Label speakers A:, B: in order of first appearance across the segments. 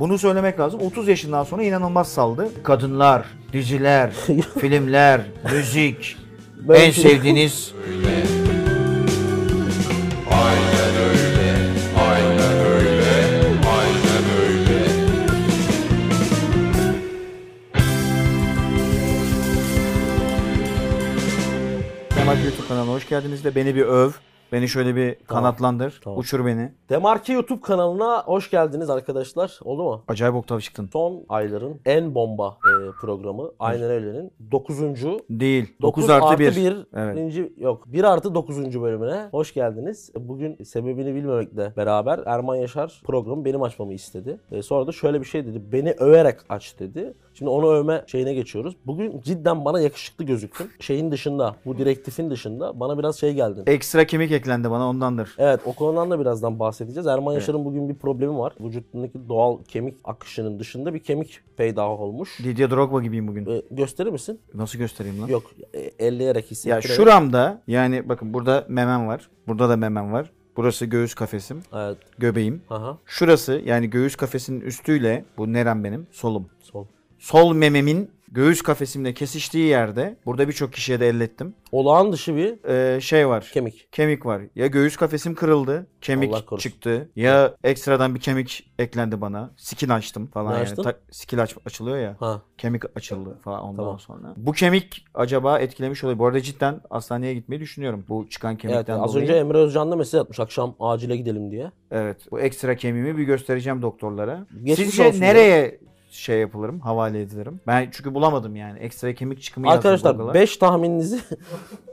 A: Bunu söylemek lazım. 30 yaşından sonra inanılmaz saldı. Kadınlar, diziler, filmler, müzik,
B: Ben
A: en sevdiğiniz Kemal YouTube kanalına hoş geldiniz de beni bir öv. Beni şöyle bir kanatlandır.
B: tamam.
A: Uçur beni.
B: Demarki YouTube kanalına hoş geldiniz arkadaşlar. Oldu mu?
A: Acayip oktav çıktın.
B: Son ayların en bomba e, programı Aynen Öyle'nin 9. 9,
A: Değil. 9 artı 1. Evet.
B: birinci- yok 1 artı 9. bölümüne hoş geldiniz. Bugün sebebini bilmemekle beraber Erman Yaşar programı benim açmamı istedi. E, sonra da şöyle bir şey dedi. Beni överek aç dedi. Şimdi onu övme şeyine geçiyoruz. Bugün cidden bana yakışıklı gözüktün. Şeyin dışında, bu direktifin dışında bana biraz şey geldin.
A: Ekstra kemik eklendi bana ondandır.
B: Evet o konudan da birazdan bahsedeceğiz. Erman Yaşar'ın bugün bir problemi var. Vücudundaki doğal kemik akışının dışında bir kemik peyda olmuş.
A: Didier Drogba gibiyim bugün.
B: Ee, gösterir misin?
A: Nasıl göstereyim lan?
B: Yok e, elleyerek
A: Ya
B: hissettirerek.
A: şuramda yani bakın burada memem var. Burada da memem var. Burası göğüs kafesim,
B: Evet.
A: göbeğim.
B: Aha.
A: Şurası yani göğüs kafesinin üstüyle bu nerem benim? Solum.
B: Sol.
A: Sol mememin göğüs kafesimle kesiştiği yerde burada birçok kişiye de ellettim.
B: Olağan dışı bir
A: Ee, şey var.
B: kemik.
A: Kemik var. Ya göğüs kafesim kırıldı.
B: Allah
A: Kemik
B: korusun.
A: çıktı. Ya ekstradan bir kemik eklendi bana. Skin açtım falan.
B: Ne
A: yani.
B: açtın?
A: Ta- skin aç- açılıyor ya.
B: Ha.
A: Kemik açıldı falan ondan
B: Tamam.
A: sonra. Bu kemik acaba etkilemiş olabilir. Bu arada cidden hastaneye gitmeyi düşünüyorum. Bu çıkan
B: Evet,
A: kemikten
B: az
A: dolayı.
B: önce Emre Özcan da mesaj atmış akşam acile gidelim diye.
A: Evet. Bu ekstra kemiğimi bir göstereceğim doktorlara.
B: Geçmiş olsun
A: Sizce nereye şey yapılırım? Havale edilirim. Ben çünkü bulamadım yani. Ekstra kemik çıkımı yazdım Google'a.
B: Arkadaşlar 5 tahmininizi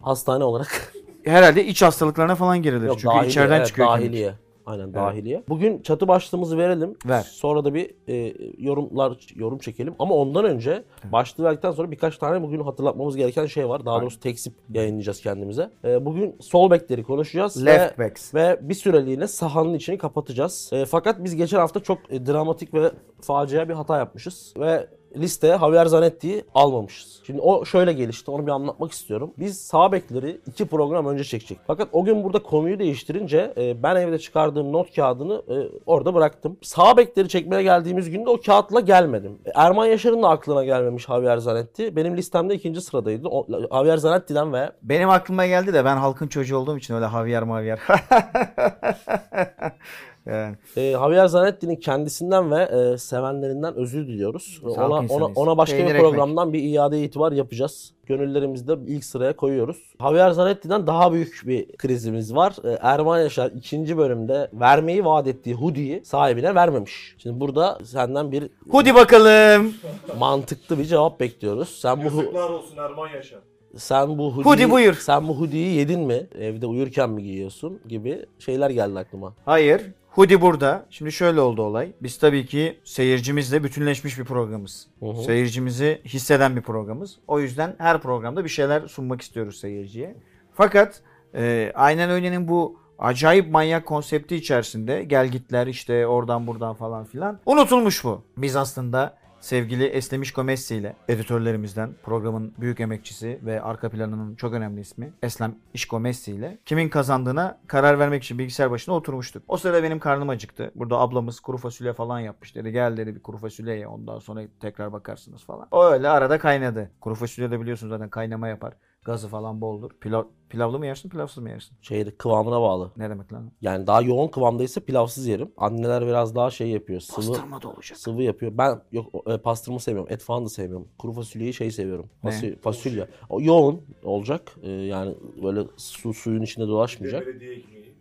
B: hastane olarak
A: Herhalde iç hastalıklarına falan girilir.
B: Yok,
A: çünkü
B: dahiliye,
A: içeriden
B: evet,
A: çıkıyor kemik.
B: dahiliye. Aynen dahiliye. Bugün çatı başlığımızı verelim.
A: Ver.
B: Sonra da bir e, yorumlar yorum çekelim. Ama ondan önce başlığı verdikten sonra birkaç tane bugün hatırlatmamız gereken şey var. Daha doğrusu teksip yayınlayacağız kendimize. E, bugün sol bekleri konuşacağız.
A: Left
B: ve,
A: backs.
B: ve bir süreliğine sahanın içini kapatacağız. E, fakat biz geçen hafta çok e, dramatik ve facia bir hata yapmışız. Ve listeye Javier Zanetti'yi almamışız. Şimdi o şöyle gelişti. Onu bir anlatmak istiyorum. Biz sağ bekleri iki program önce çekecek. Fakat o gün burada konuyu değiştirince e, ben evde çıkardığım not kağıdını e, orada bıraktım. Sağ bekleri çekmeye geldiğimiz günde o kağıtla gelmedim. E, Erman Yaşar'ın da aklına gelmemiş Javier Zanetti. Benim listemde ikinci sıradaydı. O, Javier Zanetti'den ve
A: Benim aklıma geldi de ben halkın çocuğu olduğum için öyle havyar mavyar. yani,
B: E, Javier Zanetti'nin kendisinden ve e, sevenlerinden özür diliyoruz. E,
A: Sağlık
B: Ona, ona,
A: insanıyız.
B: ona başka
A: Peynir
B: bir programdan bir iade itibar yapacağız. Gönüllerimizde ilk sıraya koyuyoruz. Javier Zanetti'den daha büyük bir krizimiz var. E, Erman Yaşar ikinci bölümde vermeyi vaat ettiği hoodie'yi sahibine vermemiş. Şimdi burada senden bir
A: Hadi bakalım.
B: mantıklı bir cevap bekliyoruz. Sen bu
C: Yazıklar olsun Erman Yaşar.
B: sen bu hoodie'yi,
A: Hoodie buyur.
B: sen bu hoodie'yi yedin mi? Evde uyurken mi giyiyorsun gibi şeyler geldi aklıma.
A: Hayır. Hudi burada. Şimdi şöyle oldu olay. Biz tabii ki seyircimizle bütünleşmiş bir programız.
B: Hı hı.
A: Seyircimizi hisseden bir programız. O yüzden her programda bir şeyler sunmak istiyoruz seyirciye. Fakat e, aynen öyle'nin bu acayip manyak konsepti içerisinde gelgitler işte oradan buradan falan filan unutulmuş bu. Biz aslında sevgili Eslemiş Gomessi ile editörlerimizden programın büyük emekçisi ve arka planının çok önemli ismi Eslem İşkomessi ile kimin kazandığına karar vermek için bilgisayar başına oturmuştuk. O sırada benim karnım acıktı. Burada ablamız kuru fasulye falan yapmış dedi. Gel dedi bir kuru fasulye ye ondan sonra tekrar bakarsınız falan. O öyle arada kaynadı. Kuru fasulye de biliyorsunuz zaten kaynama yapar. Gazı falan boldur. Pilav, pilavlı mı yersin pilavsız mı yersin?
B: Şeyde Şey, kıvamına bağlı.
A: Ne demek lan?
B: Yani daha yoğun kıvamdaysa pilavsız yerim. Anneler biraz daha şey yapıyor. Sıvı
A: Pastırma da olacak.
B: sıvı yapıyor. Ben yok o, e, pastırma sevmiyorum. Et falan da sevmiyorum. Kuru fasulyeyi şey seviyorum.
A: Ne?
B: Fasü- fasulye. O yoğun olacak. E, yani böyle su suyun içinde dolaşmayacak.
C: Belediye ekmeği.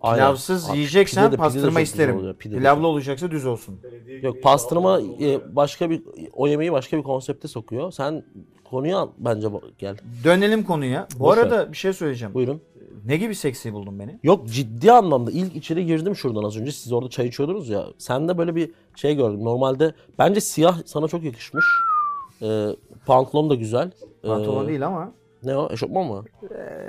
B: Aynen.
A: Pilavsız
B: Abi,
A: yiyeceksen
B: pide de- pide de çok
A: pastırma
B: güzel
A: isterim.
B: oluyor, pide de
A: Pilavlı
B: çok-
A: olacaksa düz olsun.
C: Belediye ekmeği
B: Yok pastırma e,
C: sağlam olmalı yani.
B: başka bir o yemeği başka bir konsepte sokuyor. Sen konuya al- bence ba- gel.
A: Dönelim konuya. Bu
B: Boş ver.
A: arada bir şey söyleyeceğim.
B: Buyurun.
A: Ne gibi seksi buldun beni?
B: Yok ciddi anlamda ilk içeri girdim şuradan az önce siz orada çay içiyordunuz ya. Sende böyle bir şey gördüm. Normalde bence siyah sana çok yakışmış. E, pantolon da güzel. E,
A: Pantolon değil ama.
B: Ne o? Eşofman mı?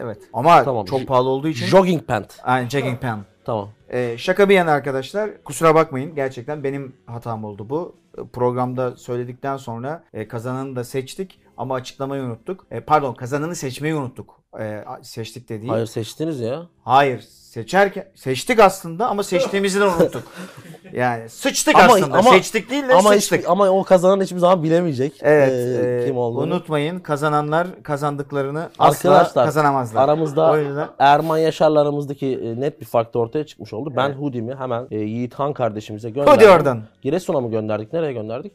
A: Evet. Ama
B: Tamam.
A: çok pahalı olduğu için.
B: Jogging pant.
A: Aynen checking pen.
B: Tamam.
A: Ee, şaka bir yana arkadaşlar kusura bakmayın gerçekten benim hatam oldu bu. Ee, Programda söyledikten sonra e, kazananı da seçtik ama açıklamayı unuttuk. E, pardon kazananı seçmeyi unuttuk. E, a- seçtik dediği.
B: Hayır seçtiniz ya.
A: Hayır seçerken seçtik aslında ama seçtiğimizi de unuttuk. Yani sıçtık
B: Ama-
A: aslında.
B: ama-
A: seçtik değil de
B: Ama,
A: sıçtık.
B: hiçbir- ama o kazanan hiçbir zaman bilemeyecek
A: evet.
B: e,
A: e,
B: kim olduğunu.
A: Unutmayın kazananlar kazandıklarını asla
B: Arkadaşlar,
A: kazanamazlar. O
B: Aramızda
A: yüzden
B: Erman Yaşar'la aramızdaki e, net bir fark da ortaya çıkmış oldu. Ben
A: Evet.
B: Hudi'mi hemen e, Yiğit Han kardeşimize gönderdim.
A: Hadi oradan.
B: Giresun'a mı gönderdik? Nereye gönderdik?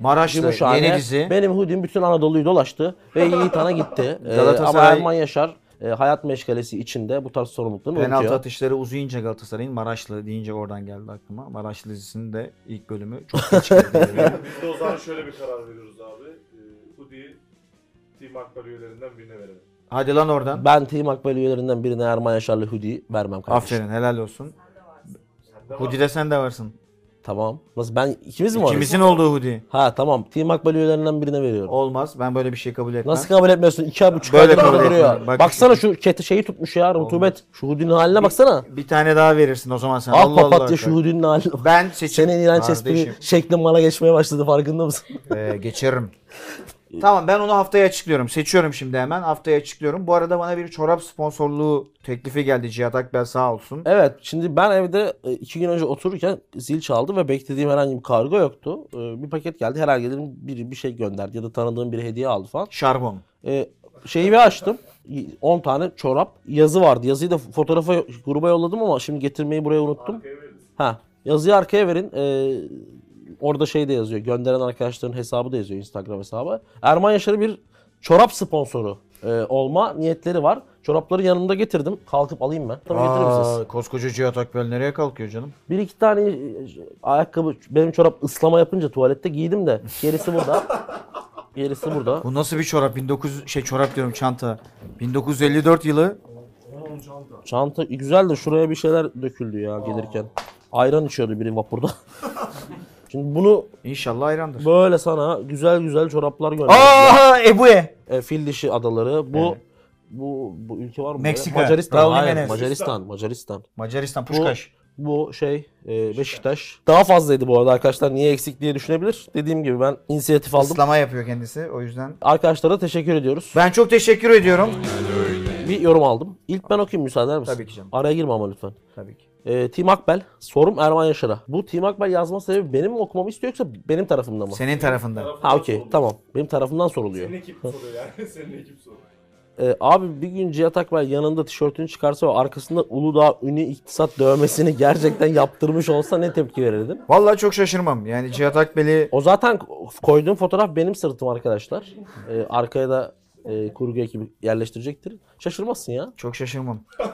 A: Maraşlı
B: Gümüşhane.
A: yeni dizi.
B: Benim Hudim bütün Anadolu'yu dolaştı ve Yiğit Han'a gitti. E, ama
A: Galatasaray-
B: Erman Yaşar e, hayat meşgalesi içinde bu tarz sorumluluklarını
A: Penaltı
B: unutuyor.
A: atışları uzayınca Galatasaray'ın Maraşlı deyince oradan geldi aklıma. Maraşlı dizisinin de ilk bölümü çok geç geldi.
C: Biz de o zaman şöyle bir karar veriyoruz abi. Ee, Hoodie'yi Team Akbar üyelerinden birine verelim.
A: Hadi lan oradan.
B: Ben Team Akbel üyelerinden birine Erman Yaşar'la Hudi vermem kardeşim.
A: Aferin helal olsun. Hudi de sen de varsın.
B: Tamam. Nasıl ben ikimiz mi varız?
A: Kimizin olduğu Hudi.
B: Ha tamam. Team Akbel üyelerinden birine veriyorum.
A: Olmaz. Ben böyle bir şey kabul etmem.
B: Nasıl kabul etmiyorsun? İki ay buçuk
A: Böyle
B: aydır
A: kabul
B: orada duruyor.
A: etmiyorum. Bak-
B: baksana şu kete şeyi tutmuş ya rutubet. Şu Hudi'nin haline baksana.
A: Bir tane daha verirsin o zaman sen.
B: Al
A: Allah
B: papatya
A: Allah.
B: şu Hudi'nin haline bak.
A: Ben seçim.
B: Senin iğrenç espri
A: Kardeşim,
B: şeklin bana geçmeye başladı farkında mısın?
A: eee, e, geçerim. tamam ben onu haftaya açıklıyorum. Seçiyorum şimdi hemen. Haftaya açıklıyorum. Bu arada bana bir çorap sponsorluğu teklifi geldi. Cihat Akbel sağ olsun.
B: evet şimdi ben evde e, iki gün önce otururken zil çaldı ve beklediğim herhangi bir kargo yoktu. E, Bir paket geldi herhalde dedim biri bir şey gönderdi ya da tanıdığım biri hediye aldı falan.
A: Şarbon.
B: E, şeyi bir açtım. 10 tane çorap yazı vardı. Yazıyı da fotoğrafa gruba yolladım ama şimdi getirmeyi buraya unuttum. Ha, yazıyı arkaya verin. Ee, orada şey de yazıyor. Gönderen arkadaşların hesabı da yazıyor Instagram hesabı. Erman Yaşar'ı bir çorap sponsoru e, olma niyetleri var. Çorapları yanımda getirdim. Kalkıp alayım ben. Tabii getirir misiniz?
A: Aa, koskoca Cihat Akbel nereye kalkıyor canım?
B: Bir iki tane e, ayakkabı, benim çorap ıslama yapınca tuvalette giydim de. Gerisi burada. Gerisi burada.
A: Bu nasıl bir çorap? 1900 şey çorap diyorum çanta. 1954 yılı.
B: Çanta güzel de şuraya bir şeyler döküldü ya gelirken. Ayran içiyordu biri vapurda. Şimdi bunu
A: İnşallah ayrandır.
B: böyle sana güzel güzel çoraplar gönderdim.
A: Aa Ebu'ye.
B: E, fil dişi adaları. Bu bu bu ülke var mı? böyle?
A: Meksika,
B: Macaristan.
A: Raul
B: Hayır,
A: Jimenez.
B: Macaristan, Macaristan.
A: Macaristan Puşkaş.
B: Bu şey e, Beşiktaş. Daha fazlaydı bu arada arkadaşlar. Niye eksik diye düşünebilir. Dediğim gibi ben inisiyatif aldım.
A: Islama yapıyor kendisi o yüzden.
B: Arkadaşlara teşekkür ediyoruz.
A: Ben çok teşekkür ediyorum.
B: Bir yorum aldım. İlk ben okuyayım müsaade eder misin?
A: Tabii ki canım.
B: Araya girme ama lütfen.
A: Tabii ki.
B: E, Team Akbel. Sorum Erman Yaşar'a. Bu Team Akbel yazma sebebi benim mi okumamı istiyor yoksa benim tarafımda mı?
A: Senin tarafından.
B: Ha okey tamam. Benim tarafımdan soruluyor.
C: Senin ekip soruyor yani. Senin ekip soruyor.
B: Ee, abi bir gün Cihat Akbel yanında tişörtünü çıkarsa ve arkasında Uludağ Ünü İktisat dövmesini gerçekten yaptırmış olsa ne tepki verirdim?
A: Vallahi çok şaşırmam. Yani Cihat Akbel'i
B: O zaten koyduğum fotoğraf benim sırtım arkadaşlar. Ee, arkaya da e, kurgu ekibi yerleştirecektir. Şaşırmazsın ya.
A: çok şaşırmam.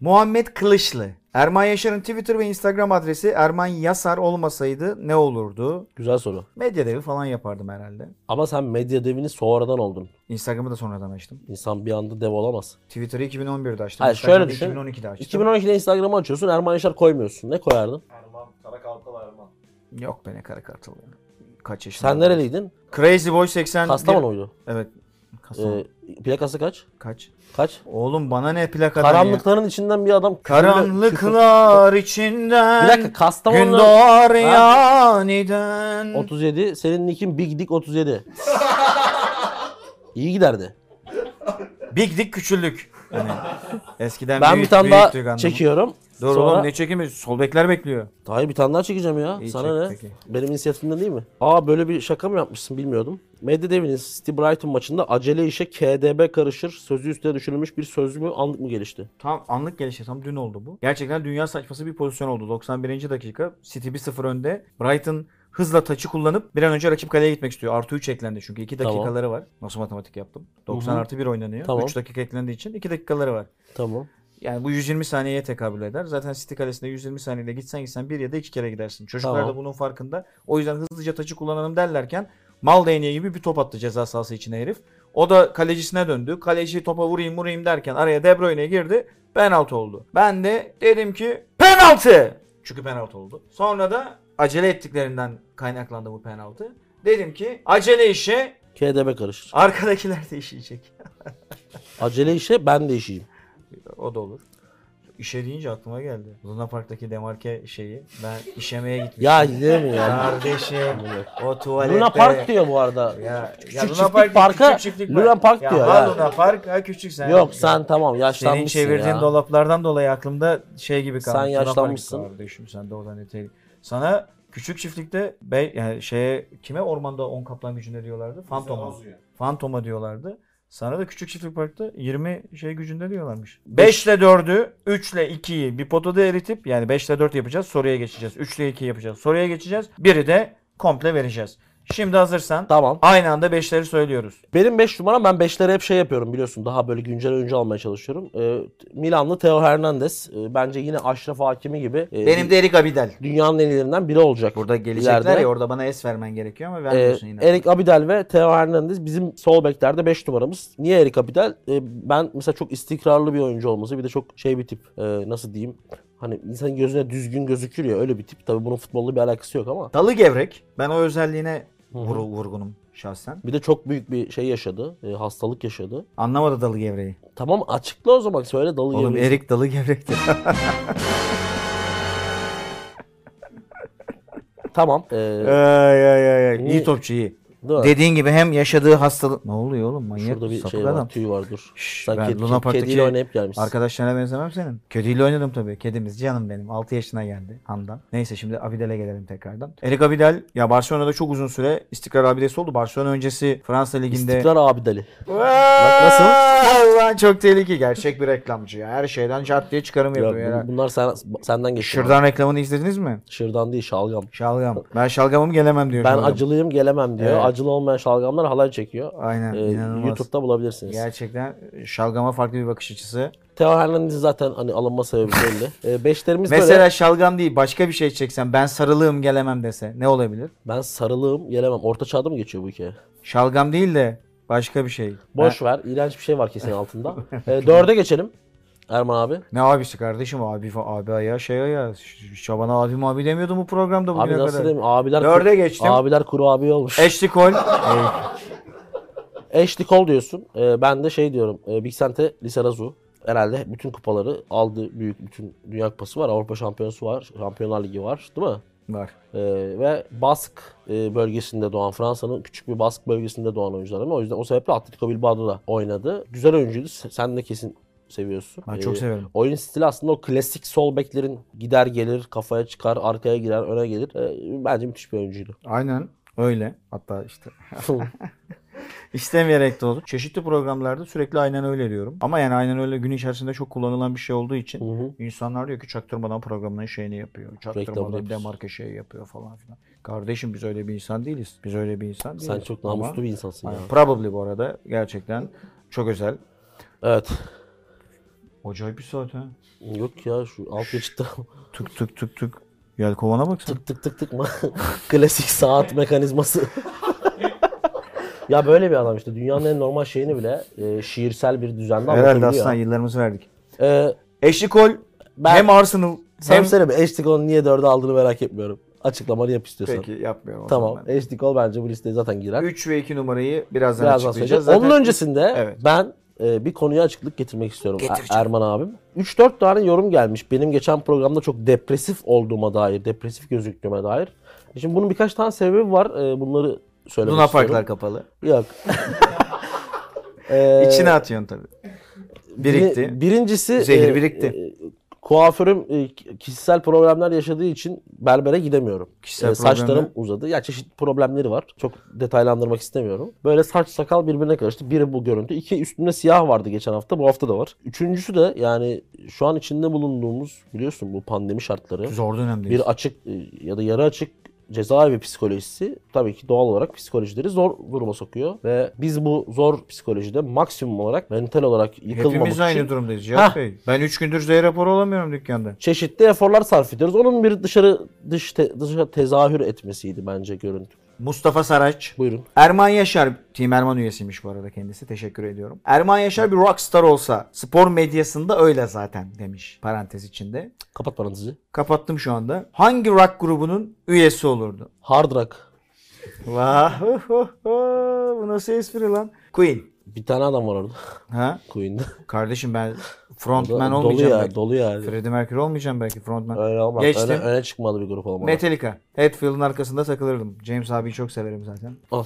A: Muhammed Kılıçlı. Erman Yaşar'ın Twitter ve Instagram adresi Erman Yasar olmasaydı ne olurdu?
B: Güzel soru.
A: Medya devi falan yapardım herhalde.
B: Ama sen medya devini sonradan oldun.
A: Instagram'ı da sonradan açtım.
B: İnsan bir anda dev olamaz.
A: Twitter'ı 2011'de açtım.
B: Hayır, şöyle
A: Instagram'ı
B: düşün.
A: 2012'de açtım.
B: 2012'de Instagram'ı açıyorsun Erman Yaşar koymuyorsun. Ne koyardın?
C: Erman. Karakaltal Erman.
A: Yok be ne kara kartal ya. Kaç yaşında?
B: Sen nereliydin?
A: Crazy Boy 80.
B: Kastamonu'ydu.
A: Evet. Kastamonu.
B: Ee, plakası kaç?
A: Kaç?
B: Kaç?
A: Oğlum bana ne plakadan ya?
B: Karanlıkların içinden bir adam küfürle-
A: Karanlıklar
B: Bir
A: içinden
B: dakika
A: gün
B: Kastamonu
A: doğar yaniden.
B: 37. Senin nickin Big Dick 37. İyi giderdi.
A: Big Dick küçüldük. Hani eskiden
B: Ben
A: büyük-
B: bir tane
A: büyüktük
B: daha
A: anlamı.
B: çekiyorum.
A: Dur
B: Sonra-
A: oğlum ne çekimi? Sol bekler bekliyor.
B: Hayır bir tane daha çekeceğim ya.
A: İyi,
B: Sana
A: çek,
B: ne?
A: çek,
B: Benim inisiyatifimde değil mi? Aa böyle bir şaka mı yapmışsın bilmiyordum. Medya devinin City Brighton maçında acele işe KDB karışır. Sözü üstüne düşünülmüş bir söz mü anlık mı gelişti?
A: Tam anlık gelişti. Tam dün oldu bu. Gerçekten dünya saçması bir pozisyon oldu. 91. dakika. City 1-0 önde. Brighton hızla taçı kullanıp bir an önce rakip kaleye gitmek istiyor. Artı 3 eklendi çünkü 2
B: Tamam.
A: dakikaları var. Nasıl matematik yaptım? 90
B: Hı hı.
A: artı 1 oynanıyor.
B: Tamam.
A: 3 dakika eklendiği için 2 dakikaları var.
B: Tamam.
A: Yani bu 120 saniyeye tekabül eder. Zaten City kalesinde 120 saniyede gitsen gitsen bir ya da iki kere gidersin. Çocuklar
B: Tamam.
A: da bunun farkında. O yüzden hızlıca taçı kullanalım derlerken mal değneği gibi bir top attı ceza sahası içine herif. O da kalecisine döndü. Kaleci topa vurayım vurayım derken araya De Bruyne girdi. Penaltı oldu. Ben de dedim ki penaltı! Çünkü penaltı oldu. Sonra da acele ettiklerinden kaynaklandı bu penaltı. Dedim ki acele işe
B: KDB karışır.
A: arkadakiler değişecek.
B: Acele işe ben de işeyim.
A: O da olur. işe deyince aklıma geldi. Luna Park'taki Demarke şeyi. Ben işemeye gitmiştim.
B: Ya gidelim ya.
A: Kardeşim o tuvalette.
B: Luna Park diyor bu arada.
A: Ya,
B: Küçük
A: ya Luna
B: çiftlik
A: Park,
B: parka
A: küçük çiftlik
B: Luna Park
A: ya,
B: diyor
A: ha
B: ya.
A: Luna Park ha küçük sen.
B: Yok sen tamam yaşlanmışsın
A: Senin çevirdiğin
B: ya.
A: dolaplardan dolayı aklımda şey gibi
B: Sen
A: kalmış. Luna Park
B: yaşlanmışsın.
A: Kardeşim sen de oradan eteği. Sana küçük çiftlikte bey, yani şeye kime ormanda 10 kaplan gücünde diyorlardı? Fantoma. Fantoma diyorlardı. Sana da küçük çiftlik parkta 20 şey gücünde diyorlarmış. 5 ile 4'ü, 3 ile 2'yi bir potada eritip yani 5 ile 4 yapacağız soruya geçeceğiz. 3 ile 2 yapacağız soruya geçeceğiz. Biri de komple vereceğiz. Şimdi hazırsan
B: Tamam.
A: aynı anda 5'leri söylüyoruz.
B: Benim 5 numaram ben 5'lere hep şey yapıyorum biliyorsun. Daha böyle güncel oyuncu almaya çalışıyorum. Ee, Milanlı Theo Hernandez. e, bence yine Aşraf Hakimi gibi. e,
A: Benim de Erik Abidal.
B: Dünyanın en ilerinden biri olacak.
A: Burada gelecekler
B: ileride.
A: ya orada bana es vermen gerekiyor ama
B: Ee,
A: vermiyorsun yine.
B: Erik Abidal ve Theo Hernandez bizim sol beklerde 5 numaramız. Niye Erik Abidal? Ee, ben mesela çok istikrarlı bir oyuncu olması bir de çok şey bir tip ee, nasıl diyeyim hani insanın gözüne düzgün gözükür ya öyle bir tip. Tabii bunun futbolla bir alakası yok ama.
A: Dalı gevrek. Ben o özelliğine
B: Hı hı.
A: vuru- vurgunum şahsen.
B: Bir de çok büyük bir şey yaşadı. e, hastalık yaşadı.
A: Anlamadı dalı gevreği.
B: Tamam açıkla o zaman söyle dalı
A: Oğlum
B: yemeyiz.
A: Erik dalı gevrekti.
B: Tamam. ee,
A: ay ay ay. ay.
B: Niye?
A: İyi topçu iyi.
B: değil mi?
A: Dediğin gibi hem yaşadığı hastalık... Ne oluyor oğlum manyak
B: Şurada bir
A: sapık
B: şey
A: adam.
B: var, tüy var dur.
A: Şşş,
B: Sen
A: ben
B: kedi-
A: Luna Park'taki
B: kediyle oynayıp gelmişsin.
A: Arkadaşlarına benzemem senin. Kediyle oynadım tabii. Kedimiz canım benim. 6 yaşına geldi Handan. Neyse şimdi Abidal'e gelelim tekrardan. Erik Abidal ya Barcelona'da çok uzun süre istikrar abidesi oldu. Barcelona öncesi Fransa Ligi'nde...
B: İstikrar Abidali.
A: Bak
B: nasıl?
A: Ulan çok tehlike. Gerçek bir reklamcı ya. Her şeyden şart diye çıkarım
B: Ya,
A: yapıyor ya.
B: bu- bunlar sen, senden geçti.
A: Şırdan reklamını izlediniz mi?
B: Şırdan değil şalgam.
A: Şalgam. Ben şalgamım gelemem diyor.
B: Ben
A: şalgam.
B: acılıyım gelemem diyor.
A: Evet.
B: Acılı olmayan şalgamlar halay çekiyor.
A: Aynen,
B: Ee,
A: inanılmaz.
B: YouTube'da bulabilirsiniz.
A: Gerçekten şalgama farklı bir bakış açısı.
B: Theo Hernandez zaten hani alınma sebebi belli. Ee, beşlerimiz
A: Mesela
B: böyle.
A: şalgam değil başka bir şey çeksen ben sarılığım gelemem dese ne olabilir?
B: Ben sarılığım gelemem. Orta çağda mı geçiyor bu hikaye?
A: Şalgam değil de başka bir şey.
B: Boş ver. iğrenç bir şey var kesin altında. ee, dörde geçelim. Erman abi.
A: Ne abisi kardeşim abi fa- abi ayağı şey ayağı. Ş- Şaban abi mi abi demiyordu bu programda bugüne
B: Abi nasıl
A: kadar.
B: diyeyim? Abiler,
A: Dörde geçtim. E-
B: Abiler kuru abi olmuş.
A: Eşlik ol. Ey,
B: Ashley Cole diyorsun. Ee, ben de şey diyorum. E, Big Sante Lizarazu. Herhalde bütün kupaları aldı. Büyük bütün Dünya Kupası var. Avrupa Şampiyonası var. Şampiyonlar Ligi var. Değil mi?
A: Var.
B: Ee, ve Bask e, bölgesinde doğan Fransa'nın küçük bir Bask bölgesinde doğan oyuncular ama o yüzden o sebeple Atletico Bilbao'da da oynadı. Güzel oyuncuydu. Se- Sen de kesin seviyorsun. Ee,
A: Ben çok severim.
B: Oyun stili aslında o klasik sol beklerin gider gelir, kafaya çıkar, arkaya girer, öne gelir. Ee, bence müthiş bir oyuncuydu.
A: Aynen öyle. Hatta işte İstemeyerek de olur. Çeşitli programlarda sürekli aynen öyle diyorum. Ama yani aynen öyle gün içerisinde çok kullanılan bir şey olduğu için
B: Hı hı.
A: insanlar diyor ki çaktırmadan programın şeyini yapıyor.
B: yapıyorsun.
A: Çaktırmadan demarke şeyi yapıyor falan filan. Kardeşim biz öyle bir insan değiliz. Biz öyle bir insan değiliz.
B: Sen çok
A: Ama-
B: namuslu bir insansın ya.
A: Aynen. Probably bu arada gerçekten çok özel.
B: Evet.
A: Acayip bir saat ha.
B: Yok ya şu alt geçitte
A: Tık tık tık tık. Gel kovana bak sen.
B: tık tık tık tık mı? Klasik saat mekanizması. ya böyle bir adam işte dünyanın en normal şeyini bile e, şiirsel bir düzende
A: Herhalde
B: anlatabiliyor.
A: aslan yıllarımızı verdik.
B: Ee,
A: Eşli kol
B: Ben-
A: hem Arsenal
B: sen
A: hem...
B: söyle bir Eştikol'un niye dörde aldığını merak etmiyorum. Açıklamanı yap istiyorsan.
A: Peki yapmıyorum. o
B: Tamam.
A: zaman ben.
B: Eştikol bence bu listeye zaten girer.
A: 3 ve 2 numarayı birazdan
B: Birazdan
A: açıklayacağız.
B: söyleyeceğiz.
A: Zaten
B: Onun öncesinde
A: Evet.
B: ben e, bir konuya açıklık getirmek istiyorum Er- Erman abim. 3-4 tane yorum gelmiş. Benim geçen programda çok depresif olduğuma dair, depresif gözüktüğüme dair. Şimdi bunun birkaç tane sebebi var. E, bunları söylemek
A: Luna
B: istiyorum.
A: Parklar kapalı.
B: Yok. E,
A: İçine atıyorsun tabii. Birikti.
B: biri- birincisi e,
A: Zehir birikti.
B: kuaförüm e, kişisel problemler yaşadığı için berbere gidemiyorum.
A: Kişisel
B: E, saçlarım
A: problemler?
B: uzadı. Ya çeşitli problemleri var. Çok detaylandırmak istemiyorum. Böyle saç sakal birbirine karıştı. Biri bu görüntü. İki üstümde siyah vardı geçen hafta. Bu hafta da var. Üçüncüsü de yani şu an içinde bulunduğumuz biliyorsun bu pandemi şartları.
A: Zor dönemdeyiz.
B: Bir açık e, ya da yarı açık cezaevi psikolojisi tabii ki doğal olarak psikolojileri zor duruma sokuyor. Ve biz bu zor psikolojide maksimum olarak mental olarak yıkılmamak
A: Hepimiz
B: için
A: aynı durumdayız Cihat
B: Hah.
A: Bey. Ben 3 gündür Z raporu alamıyorum dükkanda.
B: çeşitli eforlar sarf ediyoruz. Onun bir dışarı dış te, dışa tezahür etmesiydi bence görüntü.
A: Mustafa Saraç.
B: Buyurun.
A: Erman Yaşar, Team Erman üyesiymiş bu arada kendisi. Teşekkür ediyorum. Erman Yaşar bir rockstar olsa spor medyasında öyle zaten demiş parantez içinde.
B: Kapat parantezi.
A: Kapattım şu anda. Hangi rock grubunun üyesi olurdu?
B: Hard rock.
A: Vah, bu nasıl espri lan? Queen.
B: Bir tane adam var orada.
A: Ha?
B: Queen'de.
A: Kardeşim ben
B: Dolu-
A: frontman
B: dolu
A: olmayacağım
B: ya,
A: belki.
B: dolu yani.
A: Freddie Mercury olmayacağım belki frontman.
B: Öyle olmaz.
A: Geçtim.
B: Öne, öne çıkmalı bir grup olmalı.
A: Metallica. Hatfield'ın arkasında takılırdım. James abiyi çok severim zaten.
B: Al.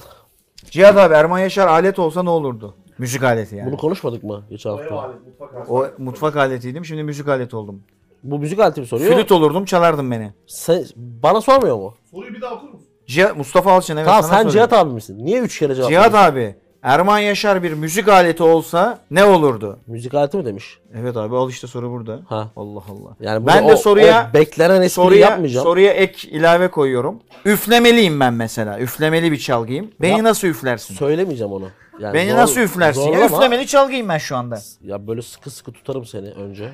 A: Cihat abi Erman Yaşar alet olsa ne olurdu? Müzik aleti yani.
B: Bunu konuşmadık mı geçen
C: O ev
B: hafta?
C: alet, mutfak alet.
A: O mutfak aletiydim şimdi müzik aleti oldum.
B: Bu müzik aleti mi soruyor?
A: Flüt olurdum çalardım beni.
B: Sen- bana sormuyor mu?
C: Soruyu bir daha okur musun?
A: Cihat, Mustafa Alçın evet
B: tamam
A: sana
B: sen
A: soruyorum.
B: Cihat abi misin? Niye üç kere cevap
A: Cihat
B: verdin?
A: abi Erman Yaşar bir müzik aleti olsa ne olurdu?
B: Müzik aleti mi demiş?
A: Evet abi al işte soru burada.
B: Ha.
A: Allah Allah.
B: Yani
A: ben
B: burada
A: de
B: o-
A: soruya
B: o beklenen espriyi
A: soruya
B: yapmayacağım.
A: soruya ek ilave koyuyorum. Üflemeliyim ben mesela. Üflemeli bir çalgıyım. Beni
B: Ya-
A: nasıl üflersin?
B: Söylemeyeceğim onu. Yani
A: Beni
B: zor-
A: nasıl üflersin? Ya
B: zorlama.
A: üflemeli çalgıyım ben şu anda.
B: Ya böyle sıkı sıkı tutarım seni önce.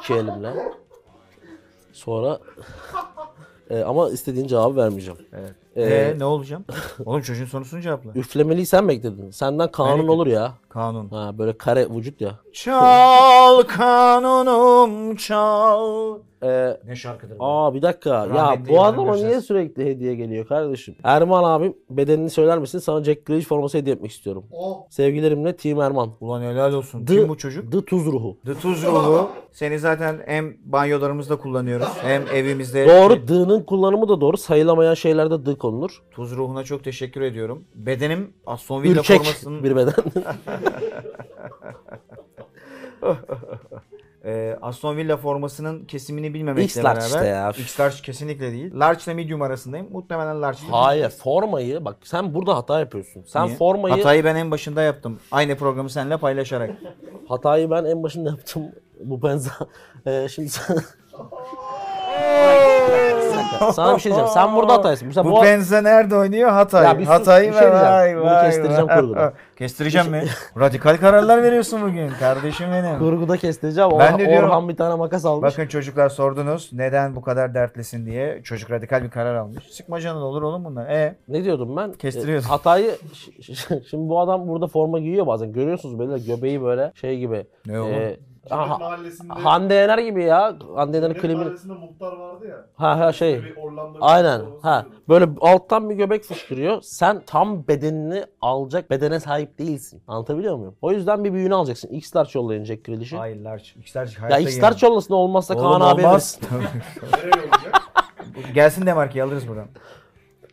B: iki elimle. Sonra E, ama istediğin cevabı vermeyeceğim.
A: Evet.
B: Ee,
A: Ee, ne olacağım? Oğlum çocuğun sorusunu cevapla.
B: Üflemeliyi sen bekledin. Senden kanun
A: Belki.
B: olur ya.
A: Kanun.
B: Ha böyle kare vücut ya.
A: Çal kanunum çal.
B: E,
A: Ne şarkıdır bu?
B: aa bir dakika. ya
A: Rahmetli
B: bu
A: İlhan
B: adama
A: Gürses.
B: niye sürekli hediye geliyor kardeşim? Erman abim bedenini söyler misin? Sana Jack Grealish forması hediye etmek istiyorum.
C: O.
B: Sevgilerimle Team Erman.
A: Ulan helal olsun.
B: The-
A: Kim bu çocuk?
B: The Tuz Ruhu.
A: The Tuz Ruhu. Seni zaten hem banyolarımızda kullanıyoruz hem evimizde.
B: Doğru. D'nın kullanımı da doğru. Sayılamayan şeylerde D konulur.
A: Tuz Ruhu'na çok teşekkür ediyorum. Bedenim Aston Villa
B: Ürkek
A: formasının
B: bir beden.
A: Ee, Aston Villa formasının kesimini bilmemekle
B: X-large
A: beraber.
B: işte ya.
A: X-large kesinlikle değil. Large ile medium arasındayım. Muhtemelen large. dedim.
B: Hayır. Formayı bak sen burada hata yapıyorsun. Sen
A: Niye?
B: formayı
A: Hatayı ben en başında yaptım. Aynı programı seninle paylaşarak.
B: hatayı ben en başında yaptım. Bu benzer. Ee, şimdi sen... Bir dakika, Sana bir şey diyeceğim. Sen burada hataysın. Mesela
A: bu
B: bu,
A: Benze nerede oynuyor? Hatay.
B: Ya bir sus,
A: Hatay'ı
B: bir şey
A: ve
B: diyeceğim.
A: vay
B: Bunu
A: vay.
B: kestireceğim
A: vay.
B: kurguda.
A: Kestireceğim mi? Radikal kararlar veriyorsun bugün kardeşim benim.
B: kurguda kestireceğim.
A: Ben
B: Ben
A: de diyorum-
B: Orhan bir tane makas almış.
A: Bakın çocuklar sordunuz neden bu kadar dertlisin diye. Çocuk radikal bir karar almış. Sıkmacanın olur oğlum bunlar. E
B: Ne diyordum ben?
A: Kestiriyordun.
B: E, hatayı Ş- ş- şimdi bu adam burada forma giyiyor bazen. Görüyorsunuz böyle göbeği böyle şey gibi.
A: Ne oğlum?
C: Aha.
B: aha,
C: Mahallesinde,
B: Hande Yener gibi ya. Hande Yener'in
C: Cennet
B: klibini.
C: Mahallesi'nde muhtar vardı ya.
B: Ha ha şey.
C: Böyle Orlando'da
B: Aynen.
C: bir şey forması
B: Ha.
C: giyiyordu.
B: Böyle alttan bir göbek fışkırıyor. Sen tam bedenini alacak bedene sahip değilsin. Anlatabiliyor muyum? O yüzden bir büyüğünü alacaksın. X-Large yollayın Jack Grealish'i.
A: Hayır large. X'ler
B: Ya
A: hayatta yiyemem.
B: X-Large yollasın olmazsa
A: Oğlum
B: Kaan abi
A: olmaz.
B: alırız.
C: Nereye olacak?
A: Gelsin demarkeyi alırız buradan.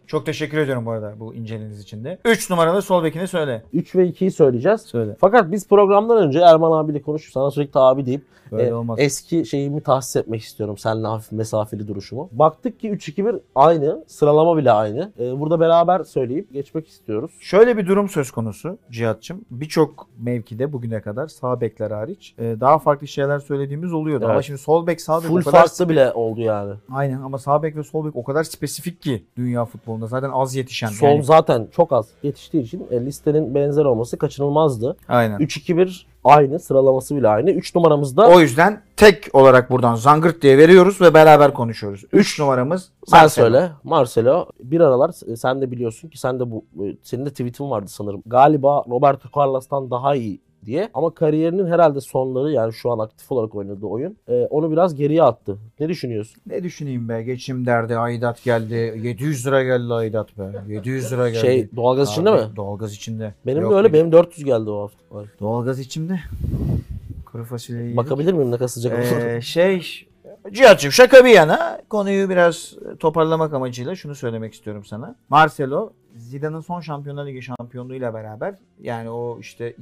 A: Çok teşekkür ediyorum bu arada bu inceliğiniz için de. 3 numaralı sol bekini söyle.
B: 3 ve 2'yi söyleyeceğiz.
A: Söyle.
B: Fakat biz programdan önce Erman abiyle konuşup sana sürekli abi deyip
A: Böyle
B: e,
A: olmaz.
B: eski şeyimi tahsis etmek istiyorum. Seninle hafif mesafeli duruşumu. Baktık ki 3-2-1 aynı. Sıralama bile aynı. E, burada beraber söyleyip geçmek istiyoruz.
A: Şöyle bir durum söz konusu Cihat'cığım. Birçok mevkide bugüne kadar sağ bekler hariç e, daha farklı şeyler söylediğimiz oluyordu.
B: Evet.
A: Ama şimdi sol bek sağ bek
B: Full
A: o kadar...
B: farklı bile oldu yani.
A: Aynen ama sağ bek ve sol bek o kadar spesifik ki dünya futbolunda. Zaten az yetişen.
B: Sol
A: yani.
B: zaten çok az yetiştiği için e, listenin benzer olması kaçınılmazdı.
A: Aynen.
B: 3-2-1 aynı. Sıralaması bile aynı. 3 numaramızda
A: O yüzden tek olarak buradan zangırt diye veriyoruz ve beraber konuşuyoruz. 3 numaramız
B: Sen
A: Marcelo.
B: söyle. Marcelo bir aralar e, sen de biliyorsun ki sen de bu e, senin de tweetin vardı sanırım. Galiba Roberto Carlos'tan daha iyi diye. Ama kariyerinin herhalde sonları yani şu an aktif olarak oynadığı oyun e, onu biraz geriye attı. Ne düşünüyorsun?
A: Ne düşüneyim be? Geçim derdi, aidat geldi. 700 lira geldi aidat be. 700 lira geldi.
B: Şey doğalgaz içinde
A: Abi,
B: mi?
A: Doğalgaz içinde.
B: Benim
A: Yok,
B: de öyle benim 400 geldi o hafta. Ay,
A: Doğalgaz içimde. Kuru fasulyeyi yedik.
B: Bakabilir miyim ne kadar sıcak olduğunu?
A: Ee, şey... Cihat'cığım şaka bir yana konuyu biraz toparlamak amacıyla şunu söylemek istiyorum sana. Marcelo Zidane'ın son Şampiyonlar Ligi şampiyonluğuyla beraber yani o işte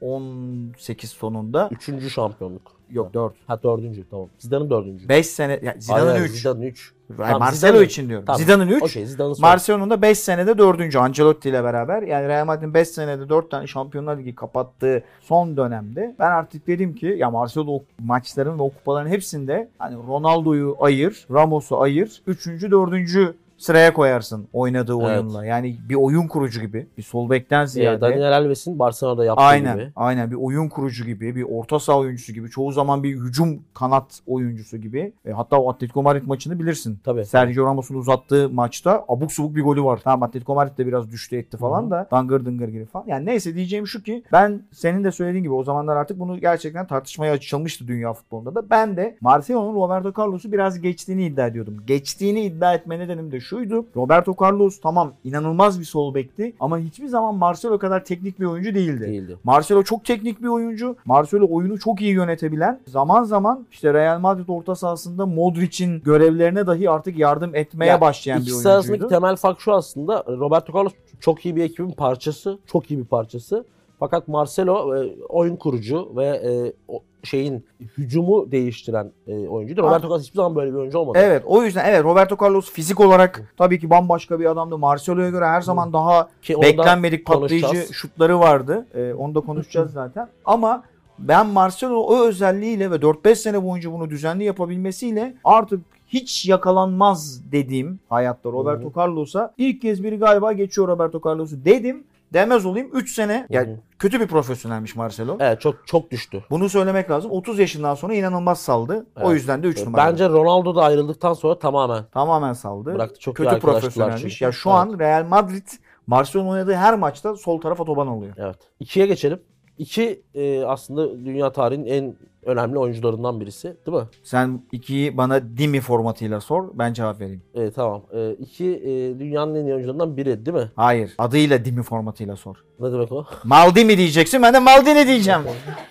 A: 2018 sonunda
B: Üçüncü şampiyonluk.
A: yok 4
B: Ha dördüncü tamam. Zidane'ın dördüncü.
A: 5 sene ya Zidane'ın
B: Aynen,
A: 3
B: Zidane'ın üç. Tamam,
A: Marcelo
B: Zidane-
A: için diyorum.
B: Tamam.
A: Zidane'ın 3
B: Okey Zidane'ın son.
A: Marcelo'nun da 5 senede 4. Ancelotti ile beraber. Yani Real Madrid'in 5 senede 4 tane Şampiyonlar Ligi kapattığı son dönemde ben artık dedim ki ya Marcelo o maçların ve o kupaların hepsinde hani Ronaldo'yu ayır, Ramos'u ayır, 3. 4. sıraya koyarsın oynadığı
B: Evet.
A: oyunla. Yani bir oyun kurucu gibi, bir sol bekten
B: Ee,
A: ziyade.
B: Daniel Alves'in Barcelona'da yaptığı
A: Aynen,
B: gibi.
A: aynen bir oyun kurucu gibi, bir orta saha oyuncusu gibi, çoğu zaman bir hücum kanat oyuncusu gibi. E, hatta o Atletico Madrid maçını bilirsin.
B: Tabii.
A: Sergio Ramos'un uzattığı maçta abuk subuk bir golü var. Tamam Atletico Madrid de biraz düştü etti falan
B: Hı hı.
A: da dangır dıngır gibi falan. Yani neyse diyeceğim şu ki ben senin de söylediğin gibi o zamanlar artık bunu gerçekten tartışmaya açılmıştı dünya futbolunda da. Ben de Marcelo'nun Roberto Carlos'u biraz geçtiğini iddia ediyordum. Geçtiğini iddia etme nedenim de şuydu. Roberto Carlos tamam inanılmaz bir sol bekti ama hiçbir zaman Marcelo kadar teknik bir oyuncu değildi.
B: değildi.
A: Marcelo çok teknik bir oyuncu. Marcelo oyunu çok iyi yönetebilen. Zaman zaman işte Real Madrid orta sahasında Modric'in görevlerine dahi artık yardım etmeye
B: Ya,
A: başlayan bir
B: İkisi arasındaki
A: oyuncuydu.
B: temel fark şu aslında. Roberto Carlos çok iyi bir ekibin parçası. Çok iyi bir parçası. Fakat Marcelo e, oyun kurucu ve e, o şeyin hücumu değiştiren e, oyuncuydu. Roberto Carlos hiçbir zaman böyle bir oyuncu olmadı.
A: Ah. Evet o yüzden evet Roberto Carlos fizik olarak tabii ki bambaşka bir adamdı. Marcelo'ya göre her zaman daha
B: Ki ondan-
A: beklenmedik patlayıcı
B: konuşacağız.
A: şutları vardı. Ee, onu da konuşacağız zaten. Ama ben Marcelo o özelliğiyle ve 4-5 sene boyunca bunu düzenli yapabilmesiyle artık hiç yakalanmaz dediğim hayatta Roberto Carlos'a ilk kez biri galiba geçiyor Roberto Carlos'u dedim. Demez olayım 3 sene
B: Hı
A: yani
B: hı.
A: kötü bir profesyonelmiş Marcelo.
B: Evet çok çok düştü.
A: Bunu söylemek lazım. 30 yaşından sonra inanılmaz saldı. O
B: Evet.
A: yüzden de 3 numara.
B: Bence Ronaldo da ayrıldıktan sonra tamamen
A: tamamen saldı.
B: bıraktı. Çok iyi
A: kötü şey.
B: arkadaşlar
A: profesyonelmiş.
B: çünkü.
A: Ya şu
B: Evet.
A: an Real Madrid Marcelo'nun oynadığı her maçta sol tarafa toban oluyor.
B: Evet. İkiye geçelim. İki e, aslında dünya tarihinin en önemli oyuncularından birisi değil mi?
A: Sen 2'yi bana Dimi formatıyla sor. Ben cevap vereyim.
B: E, tamam. E, iki e, dünyanın en iyi oyuncularından biri değil mi?
A: Hayır. Adıyla Dimi formatıyla sor.
B: Ne demek o?
A: Maldini diyeceksin. Ben de Maldini diyeceğim.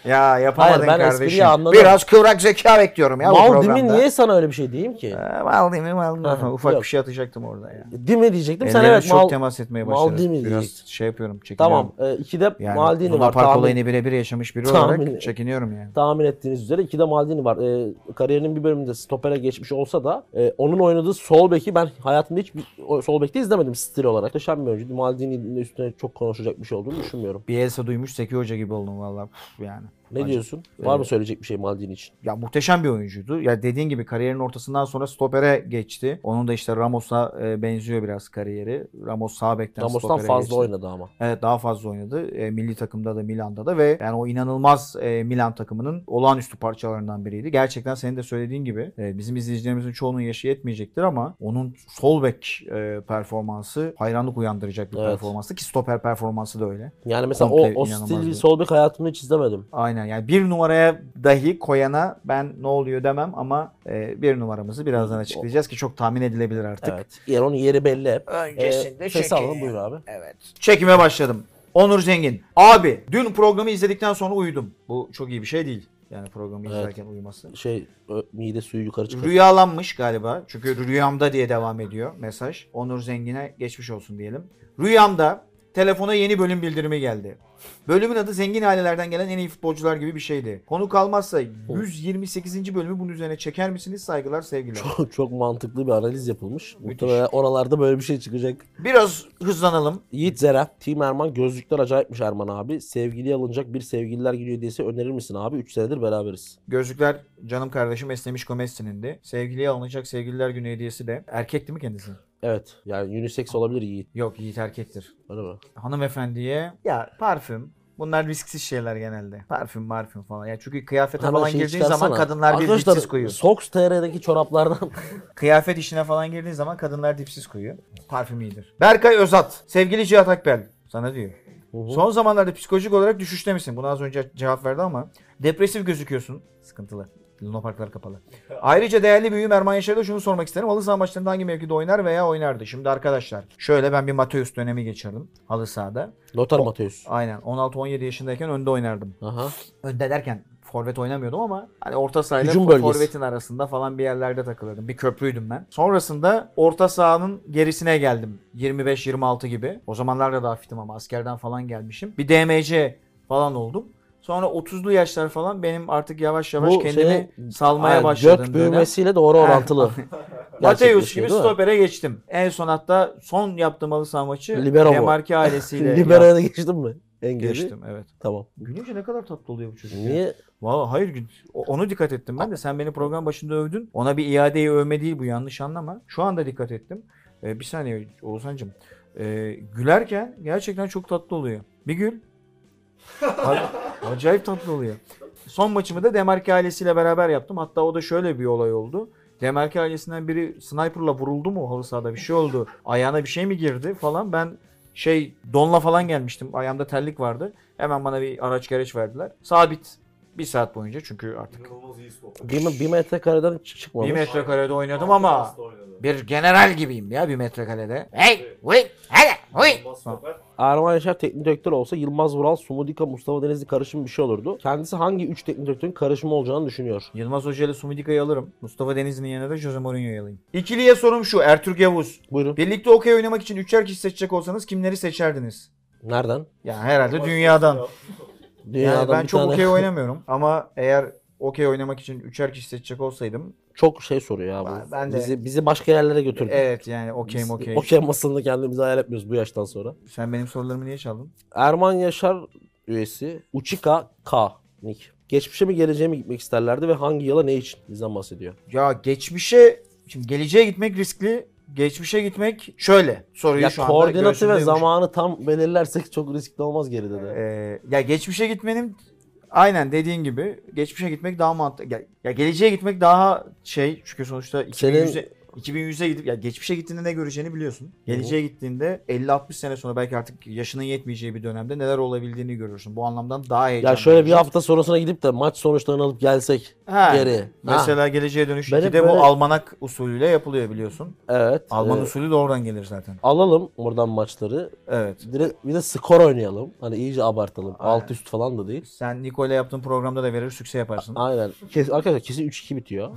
A: ya yapamadın
B: Hayır, ben espriyi
A: kardeşim.
B: anladım.
A: Biraz kıvrak zeka bekliyorum ya bu
B: Maldini
A: programda.
B: niye sana öyle bir şey diyeyim ki?
A: Ee, Maldini, Maldini.
B: Aha,
A: Ufak
B: yok.
A: bir şey atacaktım orada ya.
B: Dimi diyecektim. Sen
A: Ellerim
B: evet
A: çok
B: Mal...
A: temas etmeye başladı.
B: Maldini
A: Biraz
B: diyecektin.
A: şey yapıyorum çekiniyorum.
B: Tamam. E, ikide
A: Yani
B: Maldini
A: Luna
B: var.
A: Park
B: Tahmin,
A: olayını birebir yaşamış biri
B: Tahmin-
A: olarak çekiniyorum yani.
B: tahmin ettiğiniz üzere ikide Maldini var. E, kariyerinin bir bölümünde stopere geçmiş olsa da e, onun oynadığı sol beki ben hayatımda hiç bir o- sol bekte izlemedim stil olarak. Muhteşem bir oyuncuydu. Maldini'nin üstüne çok konuşacak bir şey olduğunu düşünmüyorum.
A: Bielsa duymuş Seki Hoca gibi oldum valla. Puf, Yani.
B: Ne
A: Acı.
B: diyorsun? Var mı söyleyecek bir şey Maldini için?
A: ya muhteşem bir oyuncuydu. Ya dediğin gibi kariyerin ortasından sonra stopere geçti. Onun da işte Ramos'a e, benziyor biraz kariyeri. Ramos sağ bekten
B: Ramos'tan
A: stopere
B: fazla
A: geçti.
B: oynadı ama.
A: Evet daha fazla oynadı. E, milli takımda da Milan'da da ve yani o inanılmaz e, Milan takımının olağanüstü parçalarından biriydi. Gerçekten senin de söylediğin gibi e, bizim izleyicilerimizin çoğunun yaşı yetmeyecektir ama onun sol bek e, performansı hayranlık uyandıracak bir
B: Evet.
A: performanstı ki stoper performansı da öyle.
B: Yani mesela
A: Komple
B: o, o
A: inanılmaz
B: stil
A: bir-
B: bir sol bek hayatımda hiç izlemedim.
A: Aynen yani bir numaraya dahi koyana ben ne oluyor demem ama e, bir numaramızı birazdan açıklayacağız ki çok tahmin edilebilir artık.
B: Evet. Yani onun yeri belli hep.
A: Öncesinde
B: Ee, sesi alalım buyur abi.
A: Evet. Çekime başladım. Onur Zengin. Abi dün programı izledikten sonra uyudum. Bu çok iyi bir şey değil. Yani programı
B: Evet.
A: izlerken uyuması.
B: Şey ö- mide suyu yukarı çıkıyor.
A: Rüyalanmış galiba. Çünkü rüyamda diye devam ediyor mesaj. Onur Zengin'e geçmiş olsun diyelim. Rüyamda telefona yeni bölüm bildirimi geldi. Bölümün adı zengin ailelerden gelen en iyi futbolcular gibi bir şeydi. Konu kalmazsa 128. bölümü bunun üzerine çeker misiniz? Saygılar, sevgiler.
B: Çok, çok mantıklı bir analiz yapılmış. Muhtemelen oralarda böyle bir şey çıkacak.
A: Biraz hızlanalım.
B: Yiğit Zera, Team Erman gözlükler acayipmiş Erman abi. Sevgiliye alınacak bir sevgililer günü hediyesi önerir misin abi? 3 senedir beraberiz.
A: Gözlükler canım kardeşim Esnemiş Komestin'indi. Sevgiliye alınacak Sevgililer Günü hediyesi de. Erkekti mi kendisi?
B: Evet yani unisex olabilir Yiğit
A: Yok Yiğit erkektir.
B: öyle mi?
A: Hanımefendiye ya parfüm. Bunlar risksiz şeyler genelde. Parfüm, marfüm falan. Ya çünkü kıyafete
B: Hemen
A: falan
B: şeyi
A: girdiğin zaman
B: şey çıkarsana.
A: kadınlar bir
B: Arkadaşlar,
A: dipsiz koyuyor.
B: Sox TR'deki çoraplardan
A: Kıyafet işine falan girdiğin zaman kadınlar dipsiz koyuyor. Parfüm iyidir. Berkay Özat. Sevgili Cihat Akbel. Sana diyor.
B: hı.
A: Son zamanlarda psikolojik olarak düşüşte misin? Buna az önce cevap verdi ama. Depresif gözüküyorsun. Sıkıntılı. Lunaparklar kapalı. Ayrıca değerli büyüğüm Erman Yaşar'a da şunu sormak isterim. Halı saha maçlarında hangi mevkide oynar veya oynardı? Şimdi arkadaşlar şöyle ben bir Mateus dönemi geçirdim halı sahada.
B: Lothar Matthäus.
A: Aynen 16-17 yaşındayken önde oynardım.
B: Aha.
A: Önde derken forvet oynamıyordum ama hani orta sahayla
B: Hücum
A: for-
B: bölgesi.
A: forvetin arasında falan bir yerlerde takılırdım. Bir köprüydüm ben. Sonrasında orta sahanın gerisine geldim. 25-26 gibi. O zamanlar da daha fitim ama askerden falan gelmişim. Bir DMC falan oldum. Sonra 30'lu yaşlar falan benim artık yavaş yavaş
B: Bu şey,
A: kendimi
B: senin-
A: salmaya
B: Aynen,
A: başladığım
B: Gök
A: dönem.
B: büyümesiyle doğru orantılı.
A: Mateus
B: gerçekleşiyor,
A: gibi
B: değil mi?
A: stopere geçtim. En son hatta son yaptığım halı saha maçı
B: Libero bu.
A: Demarki ailesiyle
B: Libero'ya da geçtin mi? En geri.
A: geçtim. Evet.
B: Tamam.
A: Gülünce ne kadar tatlı oluyor bu çocuk. ya.
B: Niye?
A: Valla hayır gü- o- onu dikkat ettim ben de. Sen beni program başında övdün. Ona bir iadeyi övme değil bu yanlış anlama. Şu anda dikkat ettim. Ee, bir saniye Oğuzhan'cığım. Ee, gülerken gerçekten çok tatlı oluyor. Bir gül. A- Acayip tatlı oluyor. Son maçımı da Demarki ailesiyle beraber yaptım. Hatta o da şöyle bir olay oldu. Demarki ailesinden biri sniperla vuruldu mu halı sahada bir şey oldu. Ayağına bir şey mi girdi falan. Ben şey donla falan gelmiştim. Ayağımda terlik vardı. Hemen bana bir araç gereç verdiler. Sabit Bir saat boyunca çünkü artık
C: İnanılmaz iyi stop.
B: Bir, me- bir metrekareden çık- çıkmamış.
A: bir metrekarede oynadım ama
C: Hasta oynadı.
A: bir general gibiyim ya bir metrekarede. Hey, uy, hele, uy.
C: İnanılmaz stoper.
B: Erman Yaşar teknik direktör olsa Yılmaz Vural, Sumudika, Mustafa Denizli karışım bir şey olurdu. Kendisi hangi 3 teknik direktörün karışımı olacağını düşünüyor.
A: Yılmaz Hoca ile Sumidika'yı alırım. Mustafa Denizli'nin yanına da Jose Mourinho'yu alayım. İkiliye sorum şu Ertürk Yavuz.
B: Buyurun.
A: Birlikte okey oynamak için üçer kişi seçecek olsanız kimleri seçerdiniz?
B: Nereden?
A: Ya herhalde dünyadan.
B: Dünyadan
A: Yani ben
B: bir
A: çok
B: tane-
A: okey oynamıyorum ama eğer okey oynamak için üçer kişi seçecek olsaydım
B: Çok şey soruyor ya bu.
A: Ben- ben de-
B: bizi, bizi başka yerlere götürdü.
A: evet yani okeyim
B: Biz
A: okey.
B: Okey masasını kendimize hayal etmiyoruz bu yaştan sonra.
A: Sen benim sorularımı niye çaldın?
B: Erman Yaşar üyesi Uchika K. Nick. Geçmişe mi geleceğe mi gitmek isterlerdi ve hangi yıla ne için? Bizden bahsediyor.
A: Ya geçmişe şimdi geleceğe gitmek riskli. Geçmişe gitmek şöyle soruyu
B: Ya
A: şu anda
B: koordinatı
A: göğsümde
B: ve
A: yumuşak-
B: zamanı tam belirlersek çok riskli olmaz geride de.
A: Ee, ya geçmişe gitmenin aynen dediğin gibi geçmişe gitmek daha mantıklı. Ya, ya geleceğe gitmek daha şey çünkü sonuçta
B: Senin-
A: 2100'e 2100'e gidip ya geçmişe gittiğinde ne göreceğini biliyorsun. Geleceğe gittiğinde 50-60 sene sonra belki artık yaşının yetmeyeceği bir dönemde neler olabildiğini görürsün. Bu anlamdan daha heyecanlı.
B: Ya şöyle bir
A: olacak.
B: hafta sonrasına gidip de maç sonuçlarını alıp gelsek
A: Ha,
B: geri.
A: Mesela geleceğe dönüş
B: Ben hep
A: 2'de
B: böyle-
A: bu almanak usulüyle yapılıyor biliyorsun.
B: Ha, evet.
A: Alman
B: Ee,
A: usulü de oradan gelir zaten.
B: alalım buradan maçları.
A: Evet.
B: Direkt bir de skor oynayalım. Hani iyice abartalım.
A: Aynen.
B: Alt üst falan da değil.
A: Sen Niko'yla yaptığın programda da verir sükse yaparsın.
B: Aynen. Kes, arkadaşlar kesin 3-2 bitiyor.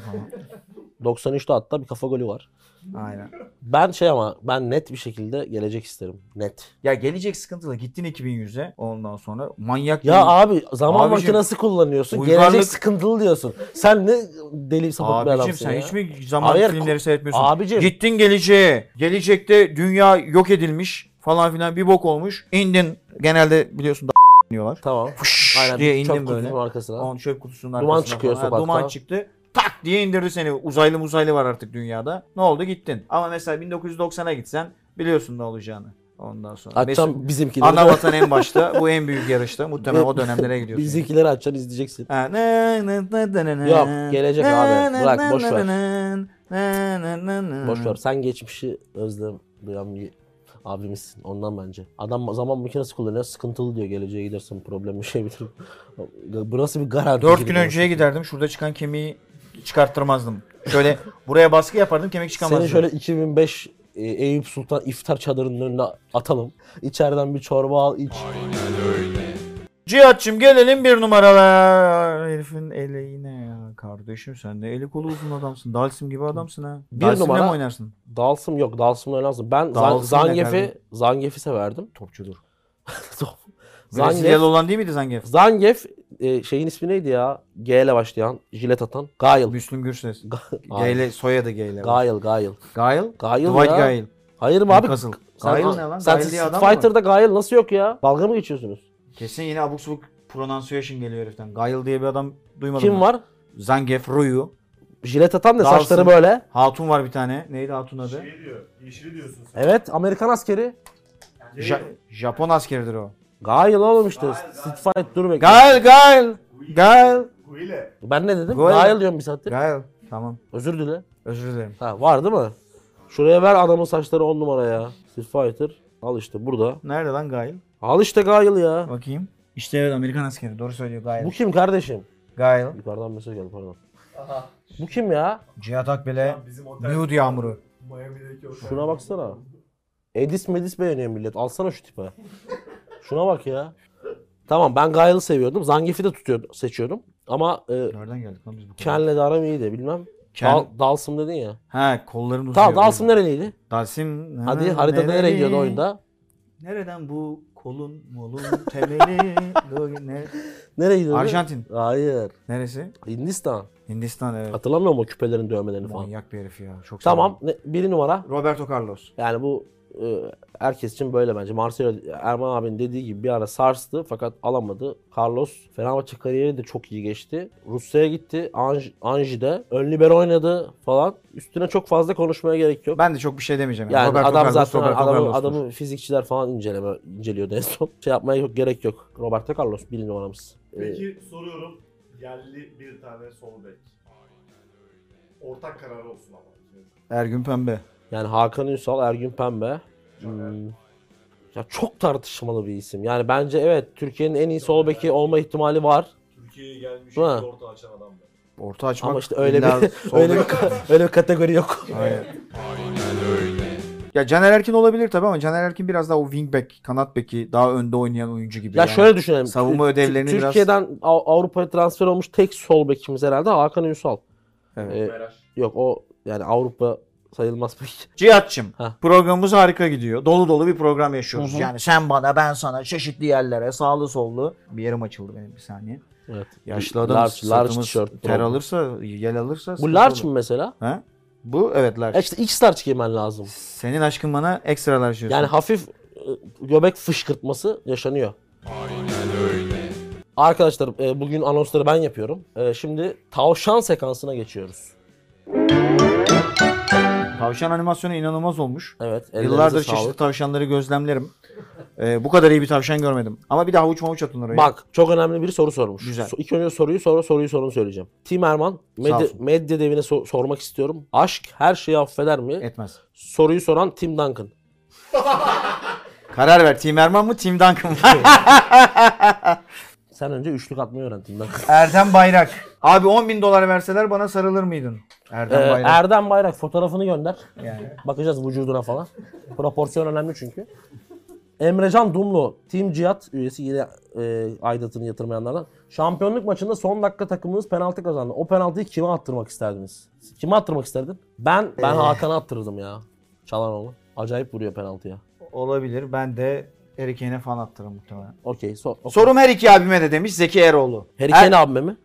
B: 93'te hatta bir kafa golü var.
A: Aynen.
B: Ben şey ama ben net bir şekilde gelecek isterim. Net.
A: Ya gelecek sıkıntılı. Gittin 2100'e ondan sonra manyak
B: Ya
A: bir-
B: abi zaman
A: Abicim,
B: makinesi kullanıyorsun.
A: uygarlık-
B: Gelecek sıkıntılı diyorsun. Sen ne deli sapık bir
A: Abicim
B: adamsın
A: sen
B: ya.
A: hiç mi zaman
B: Hayır,
A: filmleri seyretmiyorsun?
B: abicim.
A: Gittin geleceğe. Gelecekte dünya yok edilmiş falan filan bir bok olmuş. İndin. Genelde biliyorsun da diyorlar.
B: Tamam.
A: Fış
B: Aynen.
A: diye
B: çöp
A: indim böyle.
B: kutusunun arkasına.
A: On çöp kutusunun
B: Duman
A: arkasına.
B: çıkıyor
A: falan. Ha,
B: sokakta.
A: Duman çıktı. Tak diye indirdi seni. Uzaylı muzaylı var artık dünyada. Ne oldu gittin. Ama mesela 1990'a gitsen biliyorsun ne olacağını. Ondan sonra. Mesut-
B: Açacağım bizimkileri.
A: Ana vatan en başta. Bu en büyük yarışta. Muhtemelen o dönemlere gidiyorsun.
B: Bizimkileri açacaksın izleyeceksin.
A: Ha, nı, nı, nı, nı, nı.
B: Yok, gelecek
A: Nı,
B: abi.
A: nı,
B: Bırak,
A: nı,
B: boş
A: nı,
B: ver.
A: nı, nı, nı, nı, nı.
B: Boş ver. Sen geçmişi özlem duyan bir abimizsin. Ondan bence. Adam zaman makinesi kullanıyor. Sıkıntılı diyor. Geleceğe gidersen problem bir şey bitir. Bu nasıl bir garanti?
A: Dört
B: gibi
A: gün
B: bir
A: önceye giderdim. Şurada çıkan kemiği çıkarttırmazdım. Şöyle buraya baskı yapardım kemik çıkamazdı.
B: Seni şöyle 2005 e, Eyüp Sultan iftar çadırının önüne atalım. İçeriden bir çorba al iç.
A: Cihat'cığım gelelim bir numaralar. Herifin eli yine ya. Kardeşim sen de eli kolu uzun adamsın. Dalsim gibi adamsın ha.
B: Bir
A: Dalsim'le
B: numara-
A: mi oynarsın?
B: Dalsım yok. Dalsımla lazım. Ben Zan-
A: Dalsım ne
B: Zangef'i
A: kardeşim?
B: Zangef'i severdim.
A: Topçudur.
B: Zangef,
A: Brezilyalı olan değil miydi Zangef?
B: Zangef e, şeyin ismi neydi ya? G ile başlayan, jilet atan. Gail.
A: Müslüm Gürses.
B: Hayır.
A: Gayle, soyadı Gayle.
B: Gail, Gail.
A: Gail?
B: Gail
A: Dwight
B: ya.
A: Gail.
B: Hayır mı abi?
A: Newcastle.
B: Sen-
A: Gail ne lan?
B: Sen
A: Gail diye adam mı
B: Street
A: var?
B: Fighter'da Gail nasıl yok ya? Dalga mı geçiyorsunuz?
A: Kesin yine abuk subuk pronunciation geliyor heriften. Gail diye bir adam duymadım.
B: Kim
A: ben.
B: var?
A: Zangef Ruyu.
B: Jilet atan da
A: Dawson.
B: saçları böyle.
A: Hatun var bir tane. Neydi Hatun adı?
C: Şey diyor. Yeşili diyorsun sen.
B: Evet Amerikan askeri.
A: Ja- Japon askeridir o.
B: Gail oğlum işte.
C: Gail,
B: Street
C: Gail.
B: Fight dur bekle.
A: Gail Gail. Gail.
C: Guile.
B: Ben ne dedim?
A: Gail.
B: Gail diyorum bir saattir.
A: Gail. Tamam.
B: Özür dile.
A: Özür dilerim.
B: Ha var değil mi? Şuraya ver adamın saçları on numara ya. Street Fighter. Al işte burada.
A: Nerede lan Gail?
B: Al işte Gail ya.
A: Bakayım. İşte evet Amerikan askeri. Doğru söylüyor Gail.
B: Bu kim kardeşim?
A: Gail.
B: Yukarıdan mesaj geldi pardon.
C: Aha.
B: Bu kim ya?
A: Cihat Akbel'e
C: Lan bizim otel.
A: nude yağmuru.
C: Miami'deki otel.
B: Şuna baksana. Edis Medis beğeniyor millet. Alsana şu tipe. Şuna bak ya. Tamam ben Gail'i seviyordum. Zangief'i de tutuyordum, seçiyordum. Ama e,
A: Nereden geldik lan biz bu kadar?
B: Ken'le de aram iyiydi bilmem.
A: Ken-
B: Dal, Dalsım dedin ya.
A: Ha kolların uzuyor.
B: Tamam Dalsım nereliydi?
A: Dalsim.
B: Hadi haritada nereye gidiyordu
A: Nereli?
B: oyunda?
A: Nereden bu kolun molun temeli? Doğru- ne?
B: Nereye gidiyordu?
A: Arjantin.
B: Hayır.
A: Neresi?
B: Hindistan.
A: Hindistan evet.
B: Hatırlamıyor musun o küpelerin dövmelerini falan?
A: Manyak bir herif ya. Çok
B: Tamam. Ne, biri numara.
A: severim. Roberto Carlos.
B: Yani bu e, herkes için böyle bence. Marcelo Erman abinin dediği gibi bir ara sarstı fakat alamadı. Carlos Fenerbahçe kariyeri de çok iyi geçti. Rusya'ya gitti. Anj, Anji'de ön libero oynadı falan. Üstüne çok fazla konuşmaya gerek yok.
A: Ben de çok bir şey demeyeceğim.
B: yani
A: Roberto
B: adam
A: Carlos,
B: zaten
A: Roberto
B: adamı,
A: Carlos'tur.
B: adamı fizikçiler falan inceleme inceliyordu en son. Şey yapmaya yok gerek yok. Roberto Carlos bir numaramız. E,
C: Peki soruyorum. Yerli bir tane sol bek. Ortak kararı olsun ama.
A: Ergün Pembe.
B: yani Hakan Ünsal, Ergün Pembe. Hmm. Ya çok tartışmalı bir isim. Yani bence evet Türkiye'nin en iyi sol beki olma ihtimali var.
C: Türkiye'ye gelmiş
B: Ha.
C: ilk orta açan adam. ben.
A: Orta açmak
B: Ama işte öyle bir öyle bir ka- öyle bir kategori yok.
A: Ya Caner Erkin olabilir tabii ama Caner Erkin biraz daha o wingback, kanat beki daha önde oynayan oyuncu gibi.
B: Ya
A: yani.
B: şöyle düşünelim.
A: savunma
B: Tü-
A: ödevlerini biraz-
B: Türkiye'den Av- Avrupa'ya transfer olmuş tek sol bekimiz herhalde Hakan Ünsal.
A: Evet.
B: Ee, yok o yani Avrupa sayılmaz pek.
A: Cihat'cığım
B: Ha.
A: programımız harika gidiyor. Dolu dolu bir program yaşıyoruz.
B: Hı hı.
A: Yani sen bana ben sana çeşitli yerlere sağlı sollu. Bir yerim açıldı benim bir saniye.
B: Evet.
A: Yaşlı
B: Large-
A: adam
B: large
A: sırtımız
B: tişört
A: ter
B: program.
A: alırsa yel alırsa.
B: Bu
A: sıkıntı
B: large
A: olur.
B: mı mesela?
A: Ha? Bu evet large.
B: Ya işte X large giymen lazım.
A: Senin aşkın bana ekstra large diyorsun.
B: Yani hafif e, göbek fışkırtması yaşanıyor. Arkadaşlar e, bugün anonsları ben yapıyorum. E, Şimdi tavşan sekansına geçiyoruz.
A: Tavşan animasyonu inanılmaz olmuş.
B: Evet. ellerinize
A: Yıllardır
B: sağlık.
A: çeşitli tavşanları gözlemlerim. Ee, bu kadar iyi bir tavşan görmedim. Ama bir de havuç mavuç atın oraya.
B: Bak çok önemli bir soru sormuş.
A: Güzel.
B: So- İlk önce soruyu sonra soruyu sorunu söyleyeceğim. Timerman medya,
A: olsun.
B: medya devine so- sormak istiyorum. Aşk her şeyi affeder mi?
A: Etmez.
B: Soruyu soran Tim Duncan.
A: Karar ver. Tim Erman mı Tim Duncan mı?
B: Sen önce üçlük atmayı öğren Tim Duncan.
A: Erdem Bayrak. Abi 10 bin dolar verseler bana sarılır mıydın? Erdem
B: Ee,
A: Bayrak.
B: Erdem Bayrak fotoğrafını gönder.
A: yani.
B: Bakacağız vücuduna falan. Proporsiyon önemli çünkü. Emrecan Dumlu, Team Cihat üyesi yine e, aidatını yatırmayanlardan. Şampiyonluk maçında son dakika takımınız penaltı kazandı. O penaltıyı kime attırmak isterdiniz? Kime attırmak isterdin? Ben ben Hakan'a attırırdım ya. Çalanoğlu. Acayip vuruyor penaltıya.
A: Olabilir. Ben de Harry Kane'e fan attırım muhtemelen.
B: Okey. So, okey.
A: Sorum her iki abime de demiş Zeki Eroğlu.
B: Harry
A: Her-
B: Kane abime mi?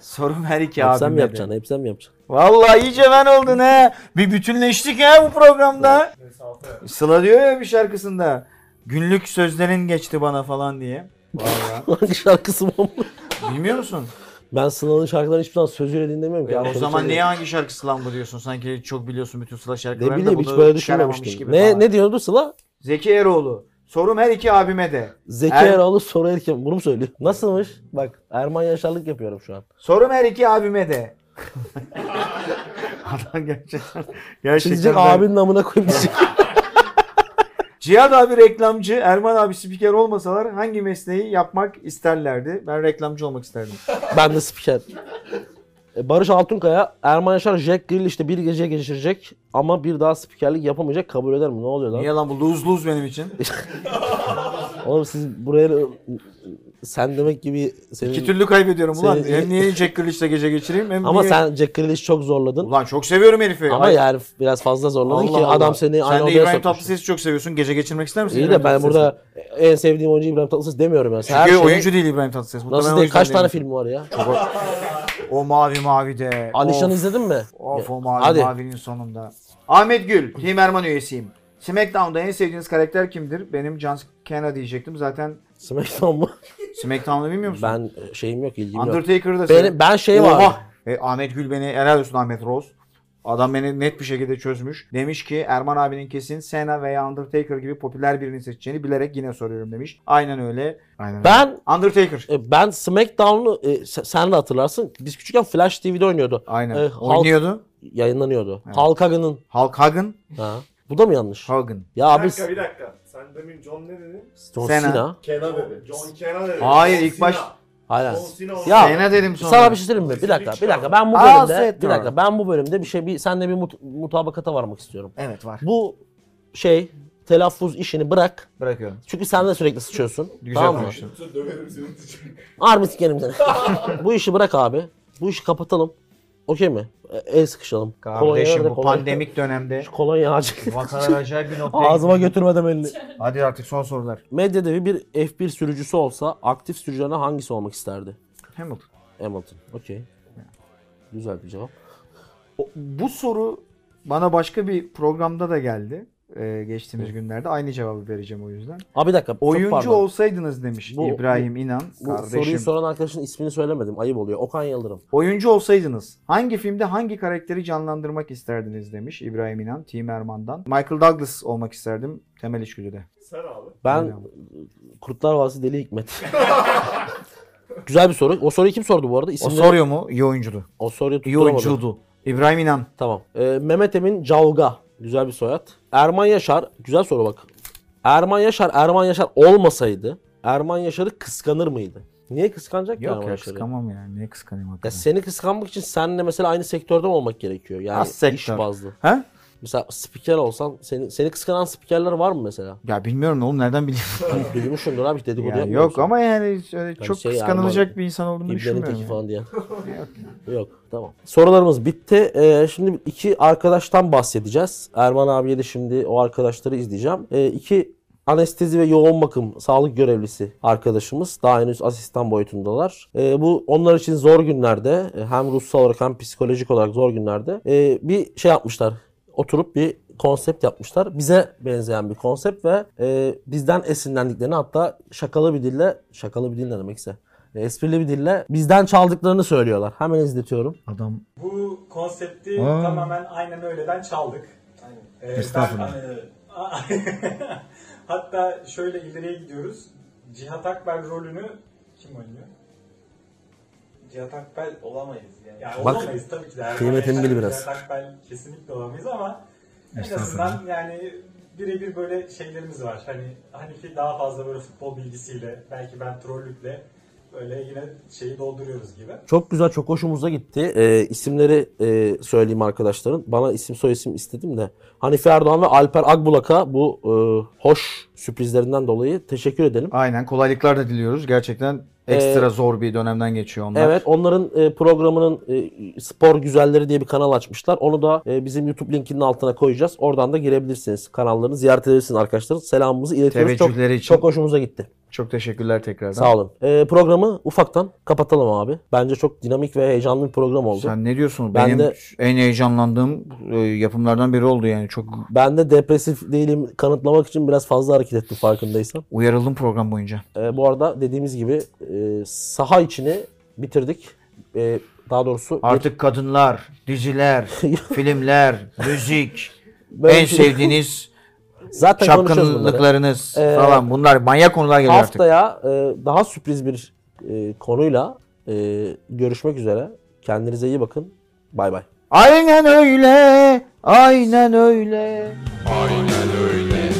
A: Sorum her iki
B: Hep sen mi
A: abime de.
B: yapacaksın? Hep sen mi yapacaksın?
A: Vallahi iyice ben oldun he. Bir bütünleştik he bu programda.
C: Mesafe.
A: Sıla diyor ya bir şarkısında. Günlük sözlerin geçti bana falan diye. Vallahi.
B: Hangi şarkısı bu?
A: Bilmiyor musun?
B: Ben Sıla'nın şarkılarını hiçbir zaman sözüyle dinlemiyorum ki.
A: E, o
B: Arkadaşlar
A: zaman
B: diyor.
A: niye hangi şarkısı lan bu diyorsun? Sanki çok biliyorsun bütün Sıla
B: Ne
A: şarkılarını da
B: bileyim hiç
A: bunu
B: böyle
A: çıkaramamış
B: düşünmemiştim.
A: gibi
B: Ne,
A: falan.
B: ne diyordu Sıla?
A: Zeki Eroğlu. Sorum her iki abime de.
B: Zeki
A: Er-
B: Eroğlu soru erken. Bunu mu söylüyor? Nasılmış? Bak Erman Yaşarlık yapıyorum şu an.
A: Sorum her iki abime de. Adam gerçekten. Gerçekten.
B: Çizecek
A: ben-
B: abinin amına koyayım şey. diyecek.
A: Cihat abi reklamcı, Erman abi spiker olmasalar hangi mesleği yapmak isterlerdi? Ben reklamcı olmak isterdim.
B: ben de spiker. E, Barış Altunkaya, Erman Yaşar, Jack Grill işte bir gece geçirecek ama bir daha spikerlik yapamayacak kabul eder mi? Ne oluyor lan?
A: Niye lan bu lose lose benim için?
B: Oğlum siz buraya sen demek gibi senin...
A: İki türlü kaybediyorum ulan.
B: Senin-
A: Hem niye Jack Grealish'le gece geçireyim hem
B: Ama
A: niye-
B: sen Jack Grealish'i çok zorladın.
A: Ulan çok seviyorum herifi.
B: ama
A: Ay-
B: yani biraz fazla zorladın
A: Allah
B: ki
A: Allah.
B: adam seni aynı
A: Sen de
B: odaya
A: İbrahim
B: sokmuş.
A: Tatlıses'i çok seviyorsun. Gece geçirmek ister misin?
B: İyi de
A: İbrahim
B: ben
A: Tatlıses'i?
B: burada en sevdiğim oyuncu İbrahim Tatlıses demiyorum yani. Sen
A: Çünkü
B: şeye-
A: oyuncu değil İbrahim Tatlıses. Muhtemelen
B: Nasıl
A: o
B: değil?
A: yüzden
B: Kaç tane
A: demiş.
B: film var ya?
A: O mavi mavi de.
B: Alişan'ı
A: of,
B: izledin mi?
A: Of o mavi
B: Hadi.
A: mavinin sonunda. Ahmet Gül. Team Erman üyesiyim. SmackDown'da en sevdiğiniz karakter kimdir? Benim John Cena diyecektim. Zaten
B: SmackDown mu?
A: SmackDown'u bilmiyor musun?
B: Ben e, şeyim yok, ilgim yok.
A: Undertaker'ı da
B: Benim, ben şey
A: Oha!
B: var.
A: E, Ahmet Gül beni helal olsun Ahmet Roz. Adam beni net bir şekilde çözmüş. Demiş ki Erman abinin kesin Cena veya Undertaker gibi popüler birini seçeceğini bilerek yine soruyorum demiş. Aynen öyle. Aynen
B: Ben
A: öyle. Undertaker.
B: e, ben SmackDown'u e, se- sen de hatırlarsın. Biz küçükken Flash TV'de oynuyordu.
A: Aynen.
B: e, Hulk-
A: Oynuyordu.
B: Yayınlanıyordu.
A: Evet.
B: Hulk Hogan'ın.
A: Hulk Hogan.
B: Ha. Bu da mı yanlış?
A: Hogan.
B: Ya
C: Bir
B: abi
C: dakika bir dakika. Sen demin John ne dedin?
B: John
A: Cena.
B: Cena.
C: Kena dedi. John Kena dedi.
A: Hayır,
C: John
A: ilk baş-
C: Cena.
B: Hayır.
C: John Cena oldu.
B: Ya
A: Cena dedim sonra.
B: Sana bir şey söyleyeyim mi? Bir dakika, bir dakika. Ben bu
A: Aa,
B: bölümde, bir
A: Seth
B: dakika.
A: Rollins.
B: Ben bu bölümde bir şey, bir senle bir mut- mutabakata varmak istiyorum.
A: Evet var.
B: Bu şey telaffuz işini bırak.
A: Bırakıyorum.
B: Çünkü sen de sürekli sıçıyorsun.
A: Güzel
B: tamam mı?
A: konuştun.
C: Yoksa Döverim seni diyecek.
B: Harbi sikerim seni. Bu işi bırak abi. Bu işi kapatalım. Okey mi? E, El sıkışalım. Kolonya
A: Kardeşim
B: nerede?
A: bu
B: Kolonya-
A: pandemik dönemde
B: Şu kolonya acil.
A: vakalar acayip bir noktaya
B: Ağzıma
A: gidiyor.
B: götürmedim elini.
A: Hadi artık son sorular.
B: Medya devi bir F1 sürücüsü olsa aktif sürücülerden hangisi olmak isterdi?
A: Hamilton.
B: Hamilton. Okey. Güzel bir cevap.
A: O- Bu soru bana başka bir programda da geldi. Ee, geçtiğimiz günlerde aynı cevabı vereceğim o yüzden.
B: Abi bir dakika. çok
A: Oyuncu
B: pardon.
A: olsaydınız demiş
B: Bu-
A: İbrahim İnan
B: Bu soruyu
A: kardeşim.
B: soran arkadaşın ismini söylemedim. Ayıp oluyor. Okan Yıldırım.
A: Oyuncu olsaydınız hangi filmde hangi karakteri canlandırmak isterdiniz demiş İbrahim İnan Team Erman'dan. Michael Douglas olmak isterdim Temel İçgüdü'de.
C: Sen abi.
B: Ben
A: Öyle ama.
B: Kurtlar Vadisi Deli Hikmet. Güzel bir soru. O soruyu kim sordu bu arada?
A: O
B: İsimleri...
A: soruyor mu? İyi oyuncudu.
B: o soruyu
A: İyi
B: tutturamadım.
A: oyuncudu. İbrahim İnan.
B: Tamam. Ee, Mehmet Emin Cavga. Güzel bir soyad. Erman Yaşar. Güzel soru bak. Erman Yaşar, Erman Yaşar olmasaydı Erman Yaşar'ı kıskanır mıydı? Niye kıskanacak ki
A: Yok
B: yani
A: ya
B: başarıyı?
A: kıskanmam yani. Niye kıskanayım
B: Ya
A: hakikaten?
B: seni kıskanmak için seninle mesela aynı sektörden olmak gerekiyor. Yani
A: Az sektör.
B: iş bazlı.
A: Ha?
B: Mesela spiker olsan seni seni kıskanan spikerler var mı mesela?
A: Ya bilmiyorum oğlum nereden bileyim.
B: Hani Duymuşsundur abi hiç dedikodu
A: Ya
B: yapmıyor
A: yok
B: musun?
A: ama yani öyle
B: Ben
A: çok
B: şey,
A: kıskanılacak
B: Erman-
A: bir insan olduğunu
B: İbnenin
A: düşünmüyorum.
B: teki
A: yani.
B: falan diye.
A: Yok.
B: Yok tamam. Sorularımız bitti. Ee, şimdi iki arkadaştan bahsedeceğiz. Erman abiye de şimdi o arkadaşları izleyeceğim. Ee, iki anestezi ve yoğun bakım sağlık görevlisi arkadaşımız. Daha henüz asistan boyutundalar. Ee, bu onlar için zor günlerde e, hem ruhsal olarak hem psikolojik olarak zor günlerde e, bir şey yapmışlar. Oturup bir konsept yapmışlar. Bize benzeyen bir konsept ve e, bizden esinlendiklerini hatta şakalı bir dille, şakalı bir dil ne demekse e, esprili bir dille bizden çaldıklarını söylüyorlar. Hemen izletiyorum.
A: Adam
D: Bu konsepti
A: Aa.
D: tamamen aynen öyleden çaldık. Ee, ben-
A: Estağfurullah.
D: e, hatta şöyle ileriye gidiyoruz. Cihat Akbel rolünü kim oynuyor? Cihat Akbel
E: Olamayız yani.
D: yani
B: Bak,
D: olamayız tabii ki de. Yani
B: kıymetini bil biraz.
D: Cihat Akbel kesinlikle olamayız ama en
A: Estağfurullah.
D: azından yani birebir böyle şeylerimiz var. Hani Hanifi daha fazla böyle futbol bilgisiyle belki ben trollükle böyle yine şeyi dolduruyoruz gibi.
B: Çok güzel, çok hoşumuza gitti. Ee, isimleri e, söyleyeyim arkadaşların. Bana isim soy isim istedim de. Hanife Erdoğan ve Alper Akbulak'a bu e, hoş sürprizlerinden dolayı teşekkür edelim.
A: Aynen kolaylıklar da diliyoruz. Gerçekten ekstra zor bir dönemden geçiyor onlar.
B: Ee, Evet onların e, programının e, Spor Güzelleri diye bir kanal açmışlar. Onu da e, bizim YouTube linkinin altına koyacağız. Oradan da girebilirsiniz. Kanallarını ziyaret edebilirsiniz arkadaşlar. Selamımızı iletiyoruz. Çok,
A: Teveccühleri için.
B: çok hoşumuza gitti.
A: Çok teşekkürler tekrardan.
B: Sağ olun. E, programı ufaktan kapatalım abi. Bence çok dinamik ve heyecanlı bir program oldu.
A: Sen ne diyorsun?
B: Ben
A: Benim
B: de-
A: en heyecanlandığım e, yapımlardan biri oldu yani. Çok
B: Ben de depresif değilim kanıtlamak için biraz fazla hareket ettim farkındaysan.
A: uyarıldım program boyunca.
B: Ee, bu arada dediğimiz gibi e, saha içini bitirdik. E, daha doğrusu
A: Artık kadınlar, diziler, filmler, müzik,
B: Böyle
A: en şey
B: bir-
A: sevdiğiniz
B: zaten konuşacağız bunları.
A: çapkınlıklarınız falan bunlar manyak konular geliyor artık.
B: Haftaya e, daha sürpriz bir e, konuyla e, görüşmek üzere. Kendinize iyi bakın. Bay bay.
A: Aynen öyle. Aynen öyle.
F: Aynen öyle